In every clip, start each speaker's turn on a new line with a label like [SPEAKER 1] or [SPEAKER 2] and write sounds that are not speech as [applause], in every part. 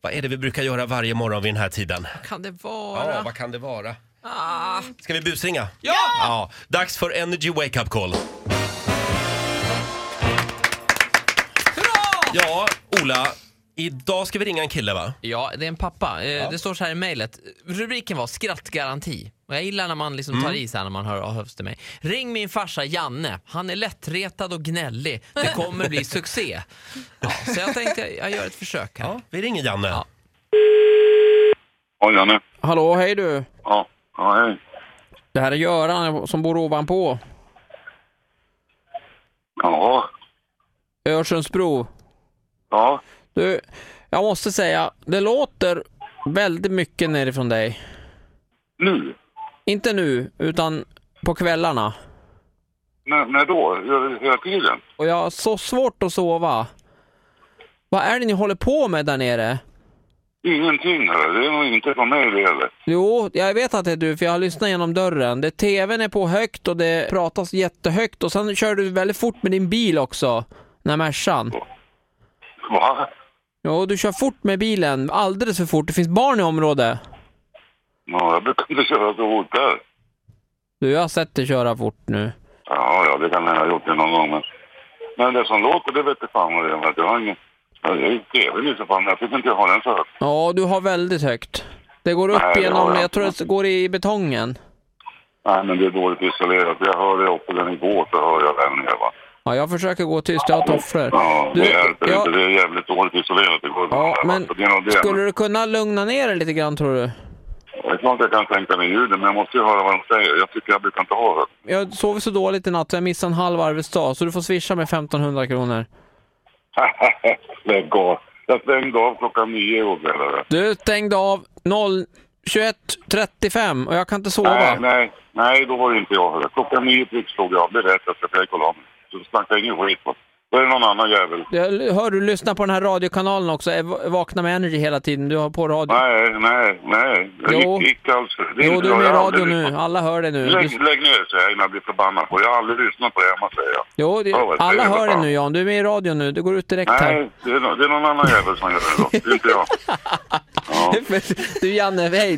[SPEAKER 1] Vad är det vi brukar göra varje morgon vid den här tiden?
[SPEAKER 2] Kan det
[SPEAKER 1] Ja,
[SPEAKER 2] vara?
[SPEAKER 1] vad kan det vara?
[SPEAKER 2] ah.
[SPEAKER 1] Ska vi busringa?
[SPEAKER 2] Ja!
[SPEAKER 1] ja! Dags för Energy Wake Up Call.
[SPEAKER 2] Hurra!
[SPEAKER 1] Ja, Ola. Idag ska vi ringa en kille va?
[SPEAKER 2] Ja, det är en pappa. Eh, Det står så här i mejlet. Rubriken var skrattgaranti. Och jag gillar när man liksom tar
[SPEAKER 3] Mm.
[SPEAKER 2] i så här när man hör av höfts till mig. Ring min farsa Janne. Han är lättretad och gnällig. Det kommer bli [laughs] succé. Ja, så jag tänkte jag- jag gör ett försök här.
[SPEAKER 1] Ja, vi ringer Janne.
[SPEAKER 2] Ja.
[SPEAKER 4] Ja, Janne.
[SPEAKER 3] Hallå, hej du.
[SPEAKER 4] Ja, ja hej.
[SPEAKER 3] Det här är Göran som bor ovanpå.
[SPEAKER 4] Ja,
[SPEAKER 3] Örsundsbro.
[SPEAKER 4] ja.
[SPEAKER 3] Du, jag måste säga, det låter väldigt mycket nerifrån dig.
[SPEAKER 4] Nu?
[SPEAKER 3] Inte nu, utan på kvällarna.
[SPEAKER 4] När, när då? Hela- Hela tiden?
[SPEAKER 3] Och jag har så svårt att sova. Vad är det ni håller på med där nere?
[SPEAKER 4] Ingenting, hörru. det är nog inte från mig det heller.
[SPEAKER 3] Jo, jag vet att det är du, för jag har lyssnat genom dörren. Det, TVn är på högt och det pratas jättehögt och sen kör du väldigt fort med din bil också. Den här Mercan.
[SPEAKER 4] Va?
[SPEAKER 3] Jo, du kör fort med bilen. Alldeles för fort. Det finns barn i området.
[SPEAKER 4] Ja, jag brukar [laughs] inte köra så fort där.
[SPEAKER 3] Du, jag har sett dig köra fort nu.
[SPEAKER 4] Ja, ja, det kan jag ha gjort det någon gång, men... Men det som låter, det vet du fan vad det är. men Jag har ingen... Ja, det är ju tv nu för fan, men jag tycker inte jag har den så högt.
[SPEAKER 3] Ja, du har väldigt högt. Det går upp
[SPEAKER 4] Nej, det har
[SPEAKER 3] genom,
[SPEAKER 4] jag
[SPEAKER 3] jag tror
[SPEAKER 4] inte.
[SPEAKER 3] det går i betongen.
[SPEAKER 4] Nej, men det är dåligt isolerat. Jag hörde uppe den igår, så hör jag den här, va.
[SPEAKER 3] Ja, jag försöker gå tyst, jag har tofflor.
[SPEAKER 4] Ja, det
[SPEAKER 3] Du,
[SPEAKER 4] hjälper
[SPEAKER 3] ja,
[SPEAKER 4] inte. Det är jävligt dåligt isolerat. Det går
[SPEAKER 3] ja,
[SPEAKER 4] där, va.
[SPEAKER 3] men
[SPEAKER 4] Så det är nog det.
[SPEAKER 3] skulle du kunna lugna ner dig lite grann tror du?
[SPEAKER 4] Jag vet inte om jag kan sänka ner ljudet, men jag måste ju höra vad de säger. Jag tycker jag brukar inte ha det. [laughs]
[SPEAKER 3] Jag sov så dåligt i natt så jag missade en halv arbetsdag, så du får swisha med 1500 kronor.
[SPEAKER 4] Lägg av. Jag stängde av klockan nio igår kväll. eller?
[SPEAKER 3] Du stängde av 0 21.35 och jag kan inte
[SPEAKER 4] Nej,
[SPEAKER 3] sova.
[SPEAKER 4] nej, nej, då var det inte jag. hörru. Klockan nio prick slog jag av. Det är rätt, jag ska försöka kolla om. Så snacka ingen skit. va. Då är det någon annan jävel.
[SPEAKER 3] Jag hör du lyssna på den här radiokanalen också, Ev- Vakna med Energy hela tiden, du har på radio.
[SPEAKER 4] Nej, nej, nej. Det
[SPEAKER 3] Jo.
[SPEAKER 4] gick, gick alls. Det är
[SPEAKER 3] Jo,
[SPEAKER 4] inte
[SPEAKER 3] du är
[SPEAKER 4] jag.
[SPEAKER 3] med i
[SPEAKER 4] Jag har
[SPEAKER 3] radio
[SPEAKER 4] aldrig
[SPEAKER 3] nu,
[SPEAKER 4] lyssnat.
[SPEAKER 3] alla hör det nu. Du-
[SPEAKER 4] Lägg, lägg ner säger jag innan jag blir förbannad på. Jag har aldrig lyssnat på det hemma säger jag.
[SPEAKER 3] Jo, det,
[SPEAKER 4] Ja, vad
[SPEAKER 3] alla
[SPEAKER 4] trevligt,
[SPEAKER 3] hör det
[SPEAKER 4] fan.
[SPEAKER 3] nu Jan. Du är med i radio nu. Du går ut direkt [laughs] här.
[SPEAKER 4] Nej, det är, no- det är någon annan jävel som gör det då. Det är
[SPEAKER 3] [laughs]
[SPEAKER 4] inte jag. Ja.
[SPEAKER 3] Du Janne, hej.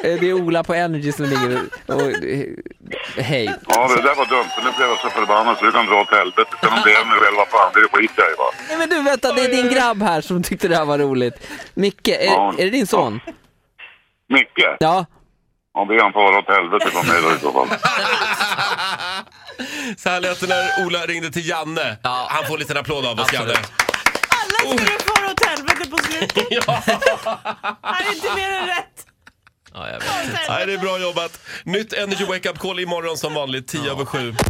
[SPEAKER 3] Det är Ola på Energy som ringer. Och, hej.
[SPEAKER 4] Ja, det där var dumt. för Nu blev jag så förbannad så du kan dra åt helvete. Sen om det är med väl, vad fan, det skiter jag i va.
[SPEAKER 3] Nej men du vänta, det är din grabb här som tyckte det här var roligt. Micke,
[SPEAKER 4] Ja.
[SPEAKER 3] är, är det din son?
[SPEAKER 4] Micke,
[SPEAKER 3] Ja.
[SPEAKER 4] om vi han får dra åt helvete från mig då i så fall.
[SPEAKER 1] Så här lät det när Ola ringde till Janne. Han får en liten applåd av oss
[SPEAKER 2] Absolut.
[SPEAKER 1] Janne.
[SPEAKER 5] Alla skulle fara åt helvete
[SPEAKER 2] [laughs]
[SPEAKER 5] på slutet.
[SPEAKER 1] Ja.
[SPEAKER 5] Han är inte mer än rätt.
[SPEAKER 2] Ja, jag vet.
[SPEAKER 1] Nej, det är bra jobbat. Nytt Energy Wake Up Call imorgon som vanligt, 10 över 7.
[SPEAKER 6] Energy.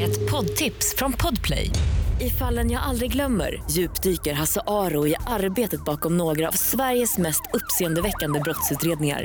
[SPEAKER 7] Ett poddtips från Podplay. I fallen jag aldrig glömmer djupdyker Hasse Aro i arbetet bakom några av Sveriges mest uppseendeväckande brottsutredningar.